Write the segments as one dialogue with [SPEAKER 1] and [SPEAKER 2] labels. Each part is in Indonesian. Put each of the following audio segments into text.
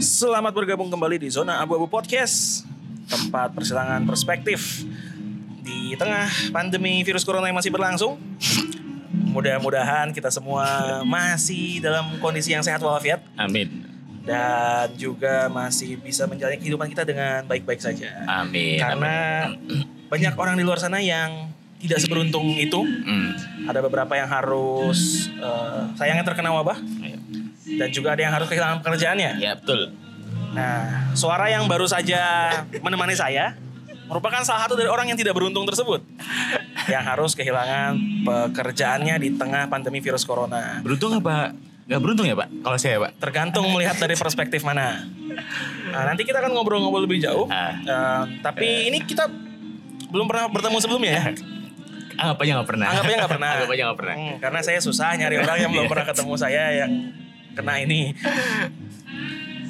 [SPEAKER 1] Selamat bergabung kembali di Zona Abu-Abu Podcast Tempat persilangan perspektif Di tengah pandemi virus corona yang masih berlangsung Mudah-mudahan kita semua masih dalam kondisi yang sehat walafiat
[SPEAKER 2] Amin.
[SPEAKER 1] Dan juga masih bisa menjalani kehidupan kita dengan baik-baik saja
[SPEAKER 2] Amin.
[SPEAKER 1] Karena banyak orang di luar sana yang tidak seberuntung itu
[SPEAKER 2] Amin. Hmm.
[SPEAKER 1] Ada beberapa yang harus eh, sayangnya terkena wabah
[SPEAKER 2] Ayo.
[SPEAKER 1] Dan juga ada yang harus kehilangan pekerjaannya
[SPEAKER 2] Ya betul.
[SPEAKER 1] Nah, suara yang baru saja menemani saya merupakan salah satu dari orang yang tidak beruntung tersebut yang harus kehilangan pekerjaannya di tengah pandemi virus corona.
[SPEAKER 2] Beruntung apa? Gak beruntung ya pak? Kalau saya pak.
[SPEAKER 1] Tergantung melihat dari perspektif mana. Nah, nanti kita akan ngobrol-ngobrol lebih jauh.
[SPEAKER 2] Ah.
[SPEAKER 1] Eh, tapi ini kita belum pernah bertemu sebelumnya ya.
[SPEAKER 2] Anggap aja gak pernah.
[SPEAKER 1] Anggap aja nggak pernah.
[SPEAKER 2] Anggap aja gak Nah. pernah.
[SPEAKER 1] Hmm, karena saya susah nyari orang yang belum
[SPEAKER 2] Iya.
[SPEAKER 1] pernah ketemu saya yang kena ini.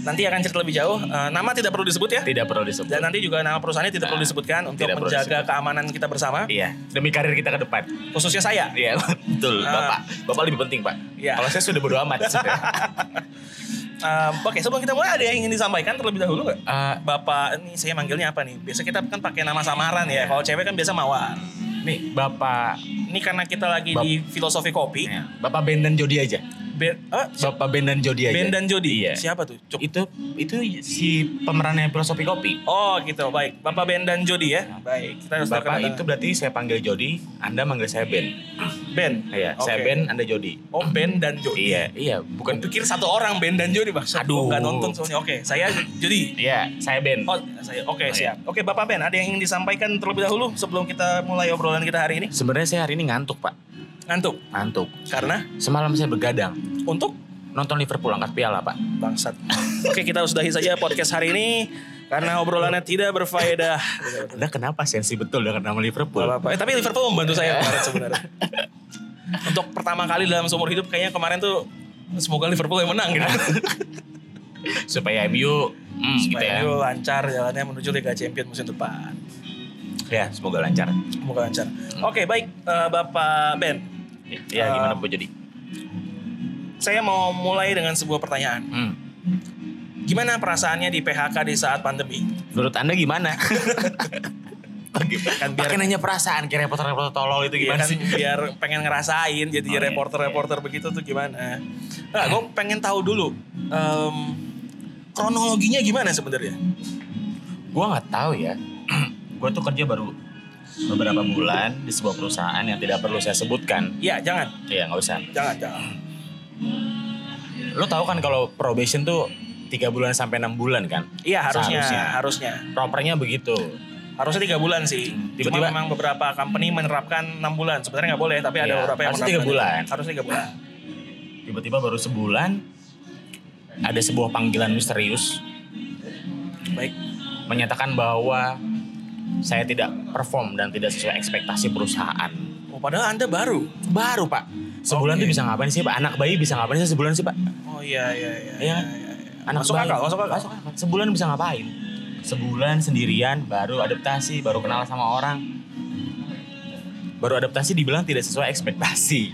[SPEAKER 1] Nanti akan cerita lebih jauh. Eh, nama tidak perlu disebut ya.
[SPEAKER 2] Tidak perlu disebut.
[SPEAKER 1] Dan nanti juga nama perusahaannya tidak
[SPEAKER 2] Nah,
[SPEAKER 1] perlu disebutkan untuk
[SPEAKER 2] tidak perlu
[SPEAKER 1] menjaga keamanan kita bersama,
[SPEAKER 2] Iya. Demi karir kita ke depan.
[SPEAKER 1] khususnya saya.
[SPEAKER 2] Iya betul.
[SPEAKER 1] Ah.
[SPEAKER 2] Bapak. Bapak lebih penting pak.
[SPEAKER 1] Iya.
[SPEAKER 2] Kalau saya sudah bodo amat. sebenarnya.
[SPEAKER 1] Em, Ehm, Oke, sebelum kita mulai ada yang ingin disampaikan terlebih dahulu nggak?
[SPEAKER 2] Eh,
[SPEAKER 1] Bapak, ini saya manggilnya apa nih? Biasa kita kan pakai nama samaran ya. Kalau cewek kan biasa mawar.
[SPEAKER 2] nih Bapak.
[SPEAKER 1] Ini karena kita lagi
[SPEAKER 2] Bap-
[SPEAKER 1] di filosofi kopi.
[SPEAKER 2] Ya, Bapak Ben dan Jody aja.
[SPEAKER 1] Ben, eh, si-
[SPEAKER 2] Bapak Ben dan Jody aja.
[SPEAKER 1] Ben dan Jody.
[SPEAKER 2] Iya.
[SPEAKER 1] Siapa tuh? Cuk.
[SPEAKER 2] Itu itu si pemerannya filosofi kopi.
[SPEAKER 1] Oh gitu, baik. Bapak Ben dan Jody ya. Baik, kita harus
[SPEAKER 2] Iya. Bapak
[SPEAKER 1] terkenal.
[SPEAKER 2] itu berarti saya panggil Jody, Anda manggil saya Ben.
[SPEAKER 1] Ben.
[SPEAKER 2] Iya,
[SPEAKER 1] Oke.
[SPEAKER 2] saya Ben, Anda Jody.
[SPEAKER 1] Oh Ben dan Jody.
[SPEAKER 2] Iya, iya, bukan
[SPEAKER 1] Pikir satu orang Ben dan Jody bang.
[SPEAKER 2] Aduh.
[SPEAKER 1] Gak nonton soalnya. Oke, saya Jody.
[SPEAKER 2] Iya, saya Ben.
[SPEAKER 1] Oh, saya oke
[SPEAKER 2] Oh,
[SPEAKER 1] siap. Oke, Bapak Ben, ada yang ingin disampaikan terlebih dahulu sebelum kita mulai obrolan kita hari ini?
[SPEAKER 2] Sebenarnya saya hari ini ngantuk, Pak.
[SPEAKER 1] Ngantuk
[SPEAKER 2] Ngantuk.
[SPEAKER 1] karena
[SPEAKER 2] Semalam saya begadang
[SPEAKER 1] untuk
[SPEAKER 2] nonton Liverpool angkat piala, Pak.
[SPEAKER 1] bangsat. oke, kita sudahi saja podcast hari ini karena obrolannya tidak berfaedah.
[SPEAKER 2] Anda kenapa sensi betul dengan nama
[SPEAKER 1] Gak
[SPEAKER 2] Liverpool?
[SPEAKER 1] apa-apa. Eh, tapi Liverpool membantu saya kemarin sebenarnya. Untuk pertama kali dalam seumur hidup kayaknya kemarin tuh semoga Liverpool yang menang gitu.
[SPEAKER 2] Supaya MU mm, gitu
[SPEAKER 1] Supaya
[SPEAKER 2] ya.
[SPEAKER 1] MU lancar jalannya menuju Liga Champions musim depan.
[SPEAKER 2] Ya, semoga lancar.
[SPEAKER 1] Semoga lancar. Oke, baik eh, Bapak Ben.
[SPEAKER 2] Ya,
[SPEAKER 1] Ah.
[SPEAKER 2] gimana Bu jadi?
[SPEAKER 1] Saya mau mulai dengan sebuah pertanyaan.
[SPEAKER 2] Hmm.
[SPEAKER 1] Gimana perasaannya di PHK di saat pandemi?
[SPEAKER 2] Menurut Anda gimana?
[SPEAKER 1] Kan
[SPEAKER 2] Bagaimana?
[SPEAKER 1] biar-
[SPEAKER 2] Pakai nanya perasaan kayak reporter-reporter tolol
[SPEAKER 1] Iya
[SPEAKER 2] itu gimana
[SPEAKER 1] kan
[SPEAKER 2] sih?
[SPEAKER 1] biar pengen ngerasain jadi
[SPEAKER 2] Oh, iya.
[SPEAKER 1] reporter-reporter begitu tuh gimana? Nah, gue pengen tahu dulu em, kronologinya gimana sebenarnya?
[SPEAKER 2] Gua nggak tahu ya. Gua tuh kerja baru beberapa bulan di sebuah perusahaan yang tidak perlu saya sebutkan.
[SPEAKER 1] Ya jangan,
[SPEAKER 2] Ya, nggak usah.
[SPEAKER 1] jangan, jangan.
[SPEAKER 2] Lo tahu kan kalau probation tuh tiga bulan sampai enam bulan kan?
[SPEAKER 1] Iya harusnya,
[SPEAKER 2] Seharusnya.
[SPEAKER 1] harusnya,
[SPEAKER 2] Propernya begitu.
[SPEAKER 1] harusnya tiga bulan sih. Cuma
[SPEAKER 2] Tiba-tiba-
[SPEAKER 1] memang beberapa company menerapkan enam bulan. Sebenarnya nggak boleh, tapi ada
[SPEAKER 2] Iya,
[SPEAKER 1] beberapa yang
[SPEAKER 2] harusnya tiga
[SPEAKER 1] menerapkan.
[SPEAKER 2] bulan.
[SPEAKER 1] Harusnya tiga bulan.
[SPEAKER 2] Tiba-tiba baru sebulan ada sebuah panggilan misterius
[SPEAKER 1] Baik,
[SPEAKER 2] menyatakan bahwa saya tidak perform dan tidak sesuai ekspektasi perusahaan.
[SPEAKER 1] oh, padahal anda baru.
[SPEAKER 2] Baru pak, sebulan
[SPEAKER 1] Oke.
[SPEAKER 2] tuh bisa ngapain sih pak? Anak bayi bisa ngapain sih sebulan sih pak?
[SPEAKER 1] Oh iya iya iya.
[SPEAKER 2] Iya kan?
[SPEAKER 1] iya, iya.
[SPEAKER 2] Anak
[SPEAKER 1] Masuk
[SPEAKER 2] bayi.
[SPEAKER 1] akal, masuk akal.
[SPEAKER 2] Sebulan bisa ngapain? Sebulan sendirian, baru adaptasi, baru kenal sama orang. Baru adaptasi dibilang tidak sesuai ekspektasi.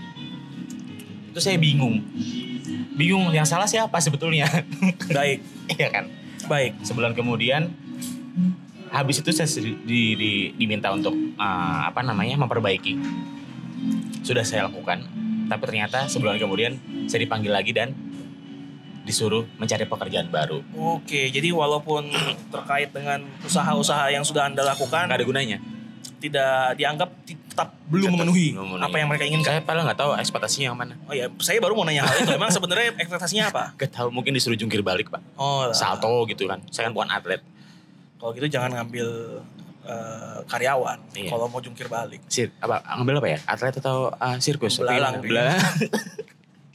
[SPEAKER 2] Itu saya bingung. Bingung yang salah siapa sebetulnya?
[SPEAKER 1] Baik,
[SPEAKER 2] Iya kan?
[SPEAKER 1] baik.
[SPEAKER 2] Sebulan kemudian habis itu saya sedi- di- di- diminta untuk eh, apa namanya? memperbaiki. Sudah saya lakukan, tapi ternyata sebulan kemudian saya dipanggil lagi dan disuruh mencari pekerjaan baru.
[SPEAKER 1] Oke, jadi walaupun terkait dengan usaha-usaha yang sudah Anda lakukan
[SPEAKER 2] Nggak ada gunanya.
[SPEAKER 1] tidak dianggap ti- tetap belum
[SPEAKER 2] Tetap
[SPEAKER 1] memenuhi
[SPEAKER 2] belum memenuhi.
[SPEAKER 1] apa yang mereka inginkan.
[SPEAKER 2] Saya padahal nggak tahu ekspektasinya yang mana.
[SPEAKER 1] Oh ya, saya baru mau nanya hal itu. Emang sebenarnya ekspektasinya apa?
[SPEAKER 2] Gak tahu mungkin disuruh jungkir balik pak.
[SPEAKER 1] Oh, lah.
[SPEAKER 2] Salto gitu kan. Saya kan bukan atlet.
[SPEAKER 1] Kalau gitu jangan ngambil eh, karyawan
[SPEAKER 2] Iya.
[SPEAKER 1] kalau mau jungkir balik.
[SPEAKER 2] Sir, apa ngambil apa ya? Atlet atau ah, sirkus?
[SPEAKER 1] Belalang.
[SPEAKER 2] Belalang.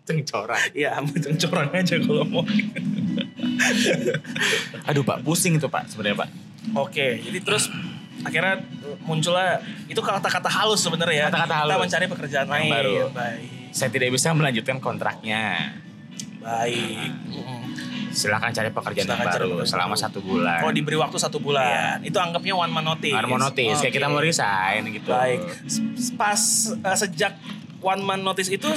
[SPEAKER 2] Cengcoran.
[SPEAKER 1] Iya, ambil cencoran aja kalau mau.
[SPEAKER 2] Aduh pak, pusing itu pak sebenarnya pak.
[SPEAKER 1] Oke, jadi terus akhirnya muncullah itu kata-kata halus sebenarnya ya.
[SPEAKER 2] Kata-kata halus.
[SPEAKER 1] Kita mencari pekerjaan
[SPEAKER 2] Yang
[SPEAKER 1] lain.
[SPEAKER 2] baru.
[SPEAKER 1] Baik.
[SPEAKER 2] Saya tidak bisa melanjutkan kontraknya.
[SPEAKER 1] Baik.
[SPEAKER 2] Nah.
[SPEAKER 1] Mm-mm.
[SPEAKER 2] Silakan cari pekerjaan
[SPEAKER 1] Silakan
[SPEAKER 2] yang
[SPEAKER 1] cari
[SPEAKER 2] baru
[SPEAKER 1] pekerjaan
[SPEAKER 2] selama
[SPEAKER 1] baru.
[SPEAKER 2] satu bulan.
[SPEAKER 1] Oh diberi waktu satu bulan. Itu anggapnya one man notice.
[SPEAKER 2] Nggak mau Iya. notice, kayak
[SPEAKER 1] Oke.
[SPEAKER 2] kita mau resign gitu.
[SPEAKER 1] Baik. S- Pas eh, sejak one man notice itu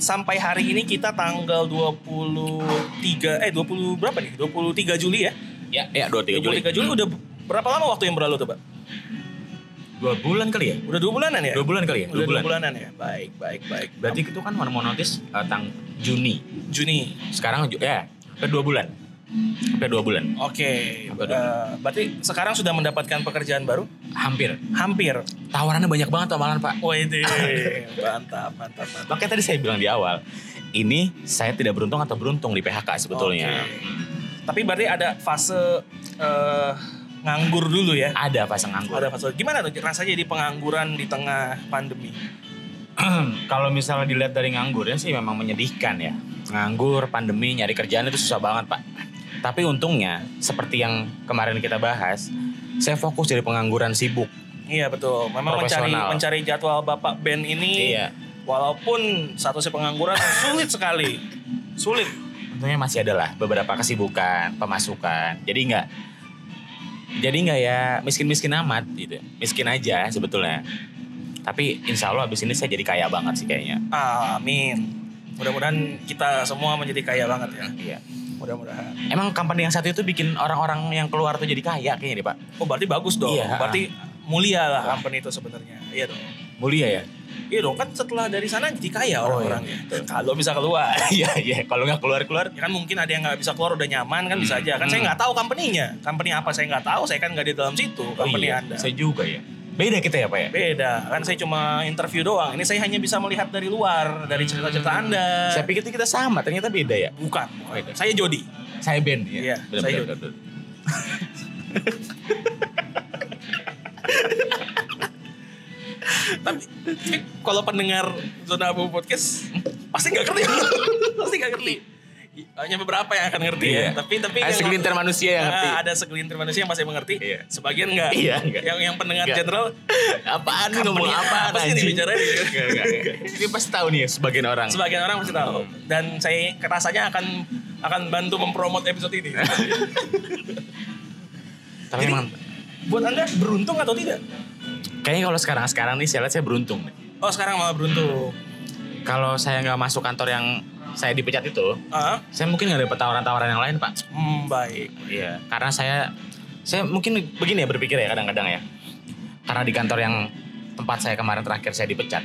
[SPEAKER 1] sampai hari ini kita tanggal 23 eh 20 berapa nih? 23 Juli ya.
[SPEAKER 2] Ya, ya 23 Juli.
[SPEAKER 1] 23 Juli udah berapa lama waktu yang berlalu tuh, Pak?
[SPEAKER 2] Dua bulan kali ya?
[SPEAKER 1] Udah dua bulanan ya?
[SPEAKER 2] Dua bulan kali ya?
[SPEAKER 1] Udah
[SPEAKER 2] Dua
[SPEAKER 1] dua
[SPEAKER 2] bulan.
[SPEAKER 1] bulanan ya. Baik, baik, baik.
[SPEAKER 2] Berarti itu kan mau notice eh, tang Juni.
[SPEAKER 1] Juni.
[SPEAKER 2] Sekarang ju- ya, ke dua bulan. Ke dua bulan.
[SPEAKER 1] Oke.
[SPEAKER 2] Apa dong?
[SPEAKER 1] eh, berarti sekarang sudah mendapatkan pekerjaan baru?
[SPEAKER 2] Hampir.
[SPEAKER 1] Hampir.
[SPEAKER 2] Tawarannya banyak banget amalan, Pak.
[SPEAKER 1] Wah, itu mantap, mantap, mantap.
[SPEAKER 2] Makanya tadi saya bilang di awal, ini saya tidak beruntung atau beruntung di PHK sebetulnya.
[SPEAKER 1] Oke. Tapi berarti ada fase eh, nganggur dulu ya.
[SPEAKER 2] Ada pasang anggur.
[SPEAKER 1] Ada fase. Gimana tuh rasanya jadi pengangguran di tengah pandemi?
[SPEAKER 2] Kalau misalnya dilihat dari nganggurnya sih memang menyedihkan ya. Nganggur, pandemi, nyari kerjaan itu susah banget, Pak. Tapi untungnya, seperti yang kemarin kita bahas, saya fokus dari pengangguran sibuk.
[SPEAKER 1] Iya betul. Memang mencari
[SPEAKER 2] Profesional. Iya.
[SPEAKER 1] mencari jadwal Bapak band ini walaupun statusnya pengangguran sulit sekali. Sulit.
[SPEAKER 2] Untungnya masih ada lah beberapa kesibukan, pemasukan. Jadi nggak jadi nggak ya miskin-miskin amat gitu. Miskin aja sebetulnya. Tapi insya Allah abis ini saya jadi kaya banget sih kayaknya.
[SPEAKER 1] Amin. Mudah-mudahan kita semua menjadi kaya banget ya.
[SPEAKER 2] Iya.
[SPEAKER 1] Mudah-mudahan.
[SPEAKER 2] Emang company yang satu itu bikin orang-orang yang keluar tuh jadi kaya kayaknya deh Pak.
[SPEAKER 1] Oh berarti bagus dong.
[SPEAKER 2] Iya.
[SPEAKER 1] Berarti mulia lah company itu sebenarnya. Iya dong.
[SPEAKER 2] Mulia ya?
[SPEAKER 1] Iya dong kan setelah dari sana jadi kaya
[SPEAKER 2] Oh, iya.
[SPEAKER 1] orang-orangnya. Kalau bisa keluar.
[SPEAKER 2] Iya iya. Kalau nggak keluar keluar
[SPEAKER 1] Ya kan mungkin ada yang nggak bisa keluar udah nyaman kan bisa
[SPEAKER 2] Hmm.
[SPEAKER 1] aja. Kan saya nggak tahu company-nya. Company apa saya nggak tahu. Saya kan nggak di dalam situ. Company Anda.
[SPEAKER 2] Oh Saya juga ya. Beda kita ya Pak ya?
[SPEAKER 1] Beda. Kan saya cuma interview doang. Ini saya hanya bisa melihat dari luar. Dari
[SPEAKER 2] Hmm.
[SPEAKER 1] cerita-cerita Anda.
[SPEAKER 2] Saya pikir tuh kita sama, ternyata beda ya.
[SPEAKER 1] Bukan.
[SPEAKER 2] Beda.
[SPEAKER 1] Saya Jody.
[SPEAKER 2] Saya Ben
[SPEAKER 1] Iya,
[SPEAKER 2] ya. Benar,
[SPEAKER 1] saya
[SPEAKER 2] benar,
[SPEAKER 1] juga.
[SPEAKER 2] benar, benar.
[SPEAKER 1] Tapi tapi kalau pendengar Zona Abu Podcast pasti nggak ngerti. pasti nggak ngerti. Hanya beberapa yang akan ngerti
[SPEAKER 2] Iya.
[SPEAKER 1] ya. Tapi tapi
[SPEAKER 2] Ada
[SPEAKER 1] yang-
[SPEAKER 2] segelintir manusia yang ngerti.
[SPEAKER 1] Ah, ada segelintir manusia yang masih mengerti.
[SPEAKER 2] Iya.
[SPEAKER 1] Sebagian nggak.
[SPEAKER 2] Iya, nggak.
[SPEAKER 1] Yang yang pendengar
[SPEAKER 2] Nggak.
[SPEAKER 1] general
[SPEAKER 2] Apaan nih ngomong
[SPEAKER 1] company
[SPEAKER 2] apaan
[SPEAKER 1] apa sih nih
[SPEAKER 2] anjing?
[SPEAKER 1] bicaranya?
[SPEAKER 2] Enggak, enggak, enggak. Ini pasti tahu nih ya sebagian orang.
[SPEAKER 1] Sebagian orang pasti tahu.
[SPEAKER 2] Hmm.
[SPEAKER 1] Dan saya rasanya akan akan bantu mempromot episode ini.
[SPEAKER 2] Tapi
[SPEAKER 1] Jadi-
[SPEAKER 2] emang
[SPEAKER 1] Buat Anda beruntung atau tidak?
[SPEAKER 2] kayaknya kalau sekarang-sekarang nih saya lihat saya beruntung. nih.
[SPEAKER 1] Oh, sekarang malah beruntung.
[SPEAKER 2] Kalau saya nggak masuk kantor yang saya dipecat itu,
[SPEAKER 1] Ah,
[SPEAKER 2] saya mungkin nggak dapat tawaran-tawaran yang lain, Pak.
[SPEAKER 1] hmm, baik.
[SPEAKER 2] Iya, karena saya saya mungkin begini ya berpikir ya kadang-kadang ya. Karena di kantor yang tempat saya kemarin terakhir saya dipecat,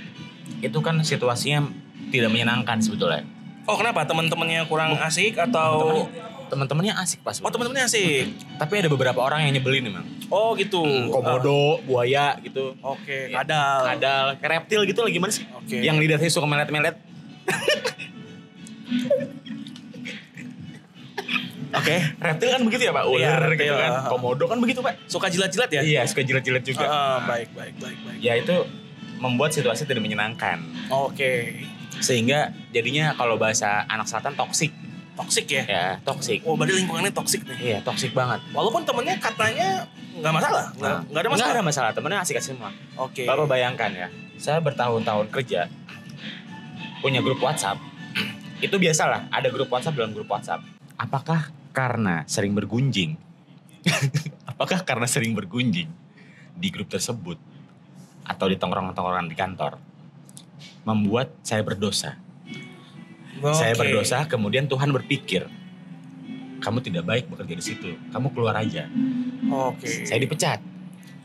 [SPEAKER 2] itu kan situasinya tidak menyenangkan sebetulnya.
[SPEAKER 1] Oh, kenapa teman-temannya kurang asik atau
[SPEAKER 2] Teman-temannya- Teman-temannya asik pas.
[SPEAKER 1] Oh, teman-temannya asik.
[SPEAKER 2] Tapi ada beberapa orang yang nyebelin emang.
[SPEAKER 1] Oh, gitu.
[SPEAKER 2] Hmm,
[SPEAKER 1] Ah,
[SPEAKER 2] Komodo, buaya gitu.
[SPEAKER 1] Oke, kadal.
[SPEAKER 2] Kadal, kayak reptil gitu lagi gimana sih?
[SPEAKER 1] Oke.
[SPEAKER 2] Yang lidahnya suka melet-melet.
[SPEAKER 1] Oke.
[SPEAKER 2] Reptil kan begitu ya Pak? Ular
[SPEAKER 1] Iya,
[SPEAKER 2] gitu
[SPEAKER 1] reptil.
[SPEAKER 2] kan. Komodo kan begitu Pak?
[SPEAKER 1] Suka jilat-jilat ya?
[SPEAKER 2] Iya, suka jilat-jilat juga.
[SPEAKER 1] Ah, baik, baik, baik, baik.
[SPEAKER 2] Ya itu membuat situasi tidak menyenangkan.
[SPEAKER 1] Oke.
[SPEAKER 2] sehingga jadinya kalau bahasa anak selatan toksik
[SPEAKER 1] Toxic ya?
[SPEAKER 2] ya toksik
[SPEAKER 1] Oh, berarti lingkungannya toxic nih.
[SPEAKER 2] iya toksik banget
[SPEAKER 1] Walaupun temennya katanya nggak masalah, nggak
[SPEAKER 2] Nah,
[SPEAKER 1] nggak ada masalah.
[SPEAKER 2] nggak ada masalah temennya asik asik semua
[SPEAKER 1] Oke.
[SPEAKER 2] bapak bayangkan ya saya bertahun-tahun kerja punya grup WhatsApp itu biasalah ada grup WhatsApp dalam grup WhatsApp apakah karena sering bergunjing apakah karena sering bergunjing di grup tersebut atau di tongkrong-tongkrongan di kantor membuat saya berdosa
[SPEAKER 1] Oke.
[SPEAKER 2] Saya berdosa, kemudian Tuhan berpikir, kamu tidak baik bekerja di situ, kamu keluar aja.
[SPEAKER 1] Oke.
[SPEAKER 2] Saya dipecat,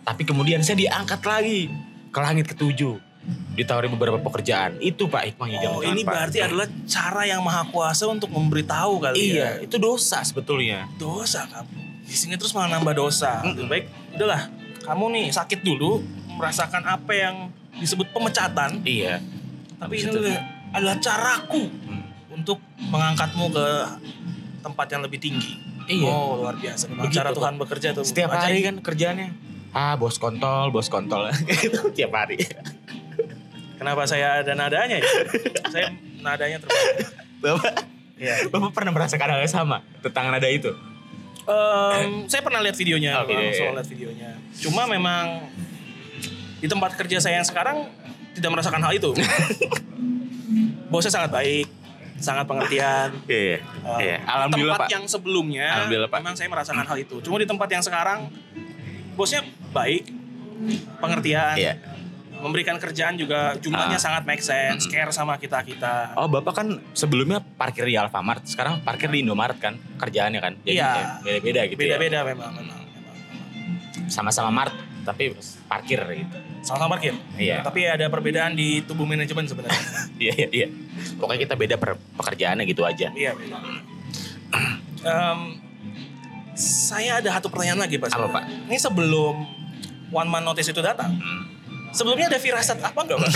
[SPEAKER 2] tapi kemudian saya diangkat lagi ke langit ketujuh, ditawari beberapa pekerjaan. Itu Pak hikmahnya
[SPEAKER 1] Oh,
[SPEAKER 2] jangan-jangan,
[SPEAKER 1] ini
[SPEAKER 2] Pak.
[SPEAKER 1] berarti adalah cara yang maha kuasa untuk memberitahu kali
[SPEAKER 2] iya,
[SPEAKER 1] ya.
[SPEAKER 2] itu dosa sebetulnya.
[SPEAKER 1] Dosa kamu. Di sini terus malah nambah dosa.
[SPEAKER 2] Mm-mm.
[SPEAKER 1] Lebih baik udahlah. Kamu nih sakit dulu merasakan apa yang disebut pemecatan,
[SPEAKER 2] Iya.
[SPEAKER 1] tapi
[SPEAKER 2] Habis
[SPEAKER 1] ini
[SPEAKER 2] itu.
[SPEAKER 1] adalah- adalah caraku
[SPEAKER 2] Hmm.
[SPEAKER 1] untuk mengangkatmu ke tempat yang lebih tinggi.
[SPEAKER 2] Iya.
[SPEAKER 1] Oh, luar biasa. Memang
[SPEAKER 2] Begitu,
[SPEAKER 1] cara
[SPEAKER 2] Pak.
[SPEAKER 1] Tuhan bekerja tuh.
[SPEAKER 2] Setiap
[SPEAKER 1] ajaib.
[SPEAKER 2] hari kan kerjaannya, ah bos kontol, bos kontol, Itu tiap hari.
[SPEAKER 1] Kenapa saya ada nadanya ya? saya nadanya terbaik.
[SPEAKER 2] Bapak,
[SPEAKER 1] Iya.
[SPEAKER 2] Bapak pernah merasakan hal yang sama tentang nada itu?
[SPEAKER 1] Em, saya pernah lihat videonya,
[SPEAKER 2] Ah, Oke.
[SPEAKER 1] memang, soal lihat videonya. Cuma memang di tempat kerja saya yang sekarang tidak merasakan hal itu. Bosnya sangat baik, sangat pengertian.
[SPEAKER 2] Iya.
[SPEAKER 1] Em,
[SPEAKER 2] Iya.
[SPEAKER 1] di
[SPEAKER 2] Alhamdulillah
[SPEAKER 1] Oh, tempat
[SPEAKER 2] Pak.
[SPEAKER 1] yang sebelumnya,
[SPEAKER 2] Alhamdulillah, Pak.
[SPEAKER 1] memang saya merasakan hal itu. Cuma di tempat yang sekarang, bosnya baik, pengertian,
[SPEAKER 2] Iya.
[SPEAKER 1] eh, memberikan kerjaan juga jumlahnya
[SPEAKER 2] Ah.
[SPEAKER 1] sangat make sense, care sama kita kita.
[SPEAKER 2] Oh bapak kan sebelumnya parkir di Alfamart, sekarang parkir di Indomaret kan kerjaannya kan, jadi
[SPEAKER 1] Iya.
[SPEAKER 2] ya beda-beda gitu ya.
[SPEAKER 1] Beda-beda memang, memang. memang.
[SPEAKER 2] Sama-sama Mart, tapi parkir gitu.
[SPEAKER 1] Sama-sama parkir.
[SPEAKER 2] Iya.
[SPEAKER 1] Tapi ada perbedaan di tubuh manajemen sebenarnya.
[SPEAKER 2] Iya iya iya. Pokoknya kita beda per- pekerjaannya gitu aja.
[SPEAKER 1] iya, beda. Em, saya ada satu pertanyaan lagi, Pak.
[SPEAKER 2] Apa, Pak?
[SPEAKER 1] Ini sebelum one man notice itu datang,
[SPEAKER 2] Hmm.
[SPEAKER 1] sebelumnya ada firasat apa enggak, Pak?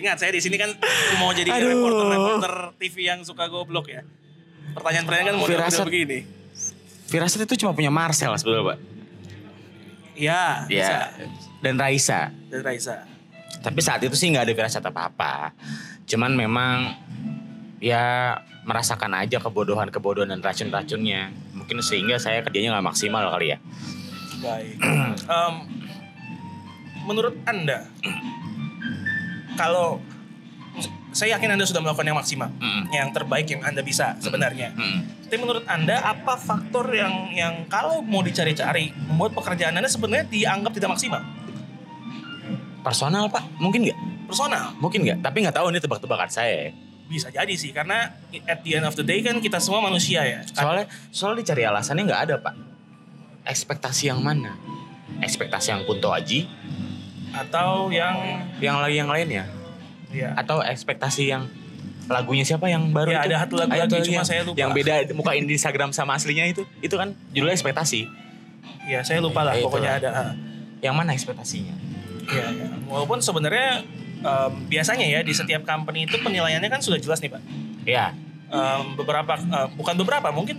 [SPEAKER 1] Ingat, saya di sini kan mau jadi
[SPEAKER 2] Aduh.
[SPEAKER 1] reporter-reporter TV yang suka goblok ya. Pertanyaan-pertanyaan kan model-model
[SPEAKER 2] Firasat.
[SPEAKER 1] begini.
[SPEAKER 2] Firasat itu cuma punya Marcel sebetulnya pak.
[SPEAKER 1] Iya, bisa.
[SPEAKER 2] Iya. Dan Raisa.
[SPEAKER 1] Dan Raisa.
[SPEAKER 2] Tapi saat itu sih nggak ada firasat apa-apa. Cuman memang ya merasakan aja kebodohan-kebodohan dan racun-racunnya. Mungkin sehingga saya kerjanya nggak maksimal kali ya.
[SPEAKER 1] Baik. Em, menurut Anda, kalau saya yakin Anda sudah melakukan yang maksimal,
[SPEAKER 2] Mm-mm.
[SPEAKER 1] yang terbaik yang Anda bisa
[SPEAKER 2] Hmm.
[SPEAKER 1] sebenarnya.
[SPEAKER 2] Mm-mm.
[SPEAKER 1] Tapi menurut Anda, apa faktor yang yang kalau mau dicari-cari membuat pekerjaan Anda sebenarnya dianggap tidak maksimal?
[SPEAKER 2] Personal pak, mungkin nggak?
[SPEAKER 1] Personal
[SPEAKER 2] Mungkin nggak? Tapi nggak tahu ini tebak-tebakan saya. ya.
[SPEAKER 1] bisa jadi sih, karena at the end of the day kan kita semua manusia ya.
[SPEAKER 2] Soalnya soalnya dicari alasannya nggak ada pak. Ekspektasi yang mana? Ekspektasi yang Kunto Aji,
[SPEAKER 1] Atau yang
[SPEAKER 2] yang lagi yang lainnya,
[SPEAKER 1] ya,
[SPEAKER 2] atau ekspektasi yang lagunya siapa yang baru
[SPEAKER 1] Ya,
[SPEAKER 2] itu?
[SPEAKER 1] ada satu lagu
[SPEAKER 2] Ah,
[SPEAKER 1] lagi,
[SPEAKER 2] itu
[SPEAKER 1] cuma
[SPEAKER 2] yang-
[SPEAKER 1] saya lupa.
[SPEAKER 2] Yang beda mukain di Instagram sama aslinya itu, itu kan judulnya ekspektasi.
[SPEAKER 1] ya saya lupa lah,
[SPEAKER 2] Ya, itulah.
[SPEAKER 1] pokoknya ada. ah.
[SPEAKER 2] Yang mana ekspektasinya?
[SPEAKER 1] Iya, iya. walaupun sebenarnya em, biasanya ya di setiap company itu penilaiannya kan sudah jelas nih pak.
[SPEAKER 2] Ya,
[SPEAKER 1] Em, beberapa eh, bukan beberapa mungkin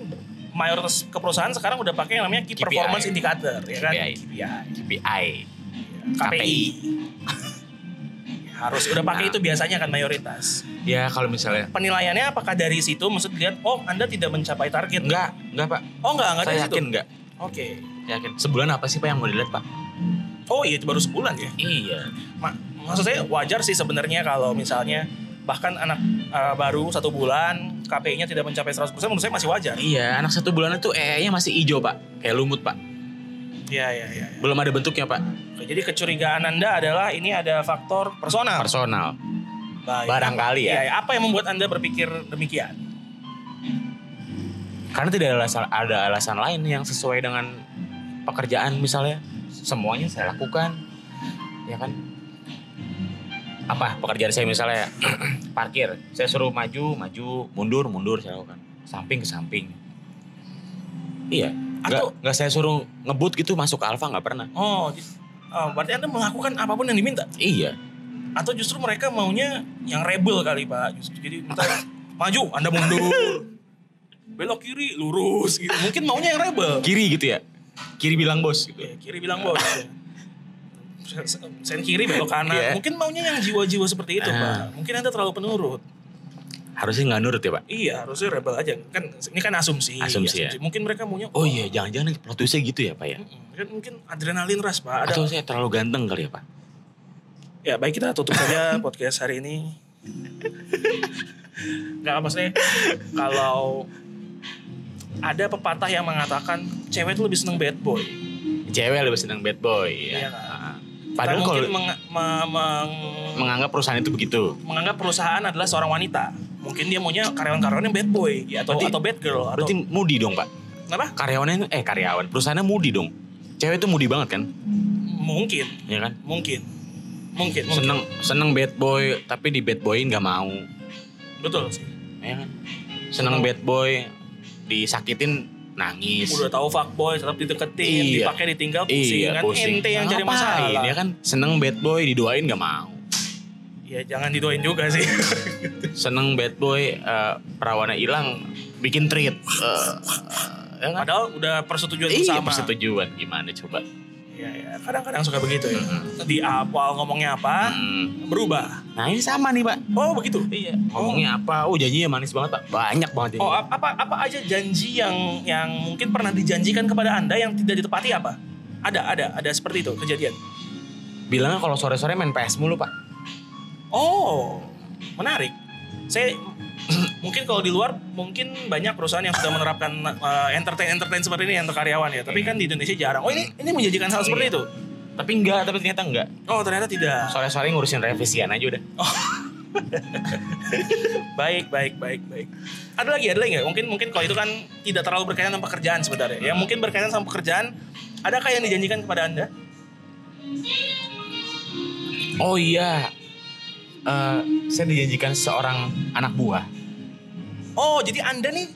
[SPEAKER 1] mayoritas ke perusahaan sekarang udah pakai yang namanya key
[SPEAKER 2] KPI.
[SPEAKER 1] performance indicator ya kan.
[SPEAKER 2] KPI.
[SPEAKER 1] KPI.
[SPEAKER 2] KPI.
[SPEAKER 1] KPI.
[SPEAKER 2] KPI.
[SPEAKER 1] Ya, Harus udah pakai
[SPEAKER 2] Nah.
[SPEAKER 1] itu biasanya kan mayoritas.
[SPEAKER 2] Ya kalau misalnya
[SPEAKER 1] Penilaiannya apakah dari situ maksud lihat oh Anda tidak mencapai target?
[SPEAKER 2] enggak, enggak Pak.
[SPEAKER 1] Oh enggak, enggak dari
[SPEAKER 2] saya
[SPEAKER 1] situ.
[SPEAKER 2] yakin enggak.
[SPEAKER 1] Oke.
[SPEAKER 2] Yakin. Sebulan apa sih Pak yang mau dilihat Pak?
[SPEAKER 1] Oh iya itu baru sebulan ya.
[SPEAKER 2] Iya.
[SPEAKER 1] Ma- maksud saya wajar sih sebenarnya kalau misalnya bahkan anak eh, baru satu bulan KPI-nya tidak mencapai 100% menurut saya masih wajar.
[SPEAKER 2] Iya, anak satu bulan itu ee-nya masih hijau Pak. Kayak lumut Pak.
[SPEAKER 1] Iya iya iya. iya.
[SPEAKER 2] Belum ada bentuknya Pak.
[SPEAKER 1] Oke, Jadi kecurigaan Anda adalah ini ada faktor personal.
[SPEAKER 2] Personal.
[SPEAKER 1] Baik.
[SPEAKER 2] Barangkali
[SPEAKER 1] Iya,
[SPEAKER 2] ya.
[SPEAKER 1] iya. apa yang membuat Anda berpikir demikian?
[SPEAKER 2] Karena tidak ada alasan, ada alasan lain yang sesuai dengan pekerjaan misalnya. Semuanya saya lakukan. Ya kan? Apa pekerjaan saya misalnya parkir. Saya suruh maju, maju, mundur, mundur saya lakukan. Samping ke samping. Iya.
[SPEAKER 1] Atau-
[SPEAKER 2] Nggak, nggak saya suruh ngebut gitu masuk ke Alfa nggak pernah.
[SPEAKER 1] Oh, di- oh, berarti Anda melakukan apapun yang diminta
[SPEAKER 2] Iya.
[SPEAKER 1] atau justru mereka maunya yang rebel kali, Pak. Justru jadi minta maju, Anda mundur. Belok kiri, lurus gitu. Mungkin maunya yang rebel.
[SPEAKER 2] Kiri gitu ya. Kiri bilang bos gitu.
[SPEAKER 1] Ya, kiri bilang bos. ya. Sen- Sen kiri belok kanan.
[SPEAKER 2] Iya.
[SPEAKER 1] Mungkin maunya yang jiwa-jiwa seperti itu,
[SPEAKER 2] Ah.
[SPEAKER 1] Pak. Mungkin Anda terlalu penurut.
[SPEAKER 2] Harusnya nggak nurut ya Pak.
[SPEAKER 1] Iya, harusnya rebel aja. Kan ini kan asumsi.
[SPEAKER 2] Asumsi, ya.
[SPEAKER 1] Mungkin mereka maunya
[SPEAKER 2] Oh iya, jangan-jangan plot twistnya gitu ya Pak ya.
[SPEAKER 1] Mm-mm. Kan mungkin adrenalin ras, Pak. Ada
[SPEAKER 2] Atau saya terlalu ganteng kali ya Pak.
[SPEAKER 1] Ya, baik kita tutup saja podcast hari ini. Enggak maksudnya kalau ada pepatah yang mengatakan cewek tuh lebih seneng bad boy.
[SPEAKER 2] cewek lebih senang bad boy
[SPEAKER 1] Iya,
[SPEAKER 2] ya.
[SPEAKER 1] Kak.
[SPEAKER 2] Heeh.
[SPEAKER 1] Kita
[SPEAKER 2] Padahal kalau
[SPEAKER 1] mungkin meng- me- meng-
[SPEAKER 2] menganggap perusahaan itu begitu.
[SPEAKER 1] menganggap perusahaan adalah seorang wanita. Mungkin dia maunya karyawan-karyawannya bad boy ya, atau
[SPEAKER 2] Berarti-
[SPEAKER 1] atau bad girl atau
[SPEAKER 2] Berarti moody dong, Pak.
[SPEAKER 1] apa?
[SPEAKER 2] Karyawannya eh karyawan, perusahaannya moody dong. Cewek itu moody banget kan?
[SPEAKER 1] Mungkin,
[SPEAKER 2] Ya kan?
[SPEAKER 1] mungkin. Mungkin, mungkin.
[SPEAKER 2] Seneng seneng bad boy tapi di bad boyin nggak mau.
[SPEAKER 1] Betul sih.
[SPEAKER 2] Ya kan? Seneng bad boy disakitin nangis.
[SPEAKER 1] Udah tahu fuckboy tetap dideketin,
[SPEAKER 2] Iya.
[SPEAKER 1] dipakai ditinggal pusing
[SPEAKER 2] Iya,
[SPEAKER 1] kan
[SPEAKER 2] pusing.
[SPEAKER 1] ente yang jadi
[SPEAKER 2] Ngapain,
[SPEAKER 1] masalah.
[SPEAKER 2] Ya kan? Seneng bad boy diduain nggak mau.
[SPEAKER 1] Ya jangan didoain juga sih.
[SPEAKER 2] Seneng bad boy eh, perawannya hilang bikin treat. Eh, ya kan?
[SPEAKER 1] Padahal udah persetujuan
[SPEAKER 2] Iya,
[SPEAKER 1] bersama.
[SPEAKER 2] persetujuan gimana coba?
[SPEAKER 1] Iya, iya. Kadang-kadang suka begitu ya.
[SPEAKER 2] Mm-mm.
[SPEAKER 1] Di awal ngomongnya apa,
[SPEAKER 2] Hmm.
[SPEAKER 1] berubah.
[SPEAKER 2] Nah ini sama nih pak.
[SPEAKER 1] Oh, begitu.
[SPEAKER 2] Iya. Ngomongnya apa? Oh janjinya manis banget pak. Banyak banget ini.
[SPEAKER 1] Oh, ap- apa apa aja janji yang yang mungkin pernah dijanjikan kepada Anda yang tidak ditepati apa? Ada, ada, ada seperti itu kejadian.
[SPEAKER 2] Bilangnya kalau sore-sore main PS mulu pak.
[SPEAKER 1] Oh, menarik. Saya mungkin kalau di luar mungkin banyak perusahaan yang sudah menerapkan eh, ya. Iya. entertain entertain seperti ini untuk karyawan ya. Tapi kan di Indonesia jarang. Oh ini ini menjanjikan hal seperti itu.
[SPEAKER 2] Tapi enggak, tapi ternyata enggak.
[SPEAKER 1] Oh ternyata tidak.
[SPEAKER 2] Sore-sore ngurusin revisian aja udah.
[SPEAKER 1] Oh. baik, baik, baik, baik. Ada lagi, ada lagi nggak? Mungkin, mungkin kalau itu kan tidak terlalu berkaitan sama pekerjaan sebenarnya. Ya mungkin berkaitan sama pekerjaan. Adakah yang dijanjikan kepada anda?
[SPEAKER 2] Oh iya. Eh, saya dijanjikan seorang anak buah.
[SPEAKER 1] Oh, jadi anda nih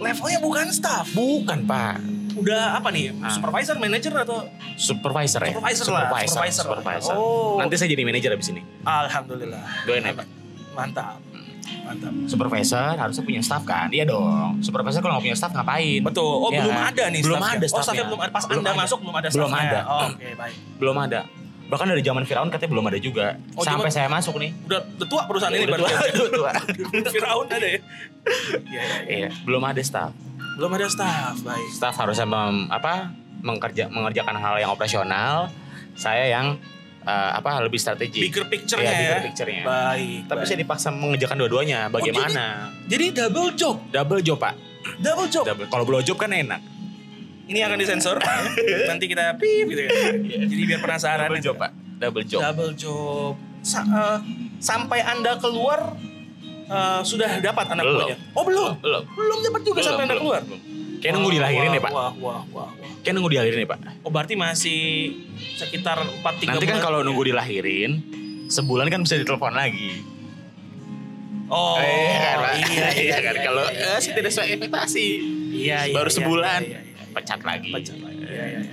[SPEAKER 1] levelnya bukan staff.
[SPEAKER 2] Bukan, Pak.
[SPEAKER 1] Udah apa nih?
[SPEAKER 2] Ah.
[SPEAKER 1] Supervisor, manager atau?
[SPEAKER 2] Supervisor ya?
[SPEAKER 1] Supervisor lah, supervisor
[SPEAKER 2] Supervisor.
[SPEAKER 1] lah.
[SPEAKER 2] supervisor.
[SPEAKER 1] Oh.
[SPEAKER 2] Nanti saya jadi manajer abis ini.
[SPEAKER 1] Alhamdulillah.
[SPEAKER 2] Doain ya, Pak.
[SPEAKER 1] Mantap, mantap.
[SPEAKER 2] Supervisor harusnya punya staff kan? Iya dong. Supervisor kalau nggak punya staff ngapain?
[SPEAKER 1] Betul. Oh
[SPEAKER 2] Iya
[SPEAKER 1] belum
[SPEAKER 2] kan?
[SPEAKER 1] ada nih.
[SPEAKER 2] Belum
[SPEAKER 1] staffnya.
[SPEAKER 2] ada
[SPEAKER 1] Oh staffnya
[SPEAKER 2] staffnya.
[SPEAKER 1] belum ada. Pas
[SPEAKER 2] Belum
[SPEAKER 1] anda
[SPEAKER 2] ada.
[SPEAKER 1] masuk belum ada
[SPEAKER 2] Belum
[SPEAKER 1] staffnya.
[SPEAKER 2] ada.
[SPEAKER 1] Oh, Oke baik.
[SPEAKER 2] Belum ada. Bahkan dari zaman Firaun katanya belum ada juga.
[SPEAKER 1] Oh, zaman-
[SPEAKER 2] Sampai saya masuk nih. Iya,
[SPEAKER 1] Udah, udah tua perusahaan ini
[SPEAKER 2] Udah
[SPEAKER 1] berarti.
[SPEAKER 2] tua, udah tua.
[SPEAKER 1] Firaun ada ya. Iya, iya, iya.
[SPEAKER 2] Iya, belum ada staff.
[SPEAKER 1] Belum ada staff, baik.
[SPEAKER 2] Staff harusnya mem- apa? Mengkerja, mengerjakan hal yang operasional. Saya yang eh, apa lebih strategi.
[SPEAKER 1] Bigger picture-nya
[SPEAKER 2] Iya, bigger
[SPEAKER 1] ya.
[SPEAKER 2] picture-nya.
[SPEAKER 1] Baik.
[SPEAKER 2] Tapi
[SPEAKER 1] baik. Oh,
[SPEAKER 2] saya dipaksa mengerjakan dua-duanya. Bagaimana?
[SPEAKER 1] jadi double job,
[SPEAKER 2] Double job, Pak.
[SPEAKER 1] double job.
[SPEAKER 2] Double. Kalau blowjob kan enak.
[SPEAKER 1] Ini akan disensor. Nanti kita pip gitu ya. Jadi biar penasaran.
[SPEAKER 2] Iya. Double
[SPEAKER 1] nih.
[SPEAKER 2] job, Pak. Double job.
[SPEAKER 1] Double job. Sa- eh, sampai Anda keluar eh, sudah dapat anak
[SPEAKER 2] Belum.
[SPEAKER 1] buahnya. Oh, belum.
[SPEAKER 2] Belum.
[SPEAKER 1] Belum dapat juga sampai Anda keluar.
[SPEAKER 2] Kayak nunggu dilahirin
[SPEAKER 1] Wah,
[SPEAKER 2] ya, Pak.
[SPEAKER 1] Wah, wah, wah, wah.
[SPEAKER 2] Kayak nunggu dilahirin ya, Pak.
[SPEAKER 1] Oh, berarti masih sekitar 4 3
[SPEAKER 2] Nanti kan kalau nunggu dilahirin, sebulan kan bisa ditelepon lagi.
[SPEAKER 1] Oh,
[SPEAKER 2] iya kan, Pak?
[SPEAKER 1] iya, iya,
[SPEAKER 2] kan
[SPEAKER 1] iya,
[SPEAKER 2] kalau
[SPEAKER 1] iya,
[SPEAKER 2] eh,
[SPEAKER 1] iya,
[SPEAKER 2] sih tidak sesuai ekspektasi.
[SPEAKER 1] iya, iya,
[SPEAKER 2] baru
[SPEAKER 1] iya,
[SPEAKER 2] sebulan.
[SPEAKER 1] iya, iya, iya.
[SPEAKER 2] Pecat lagi.
[SPEAKER 1] Pecat lagi. Iya, iya, iya.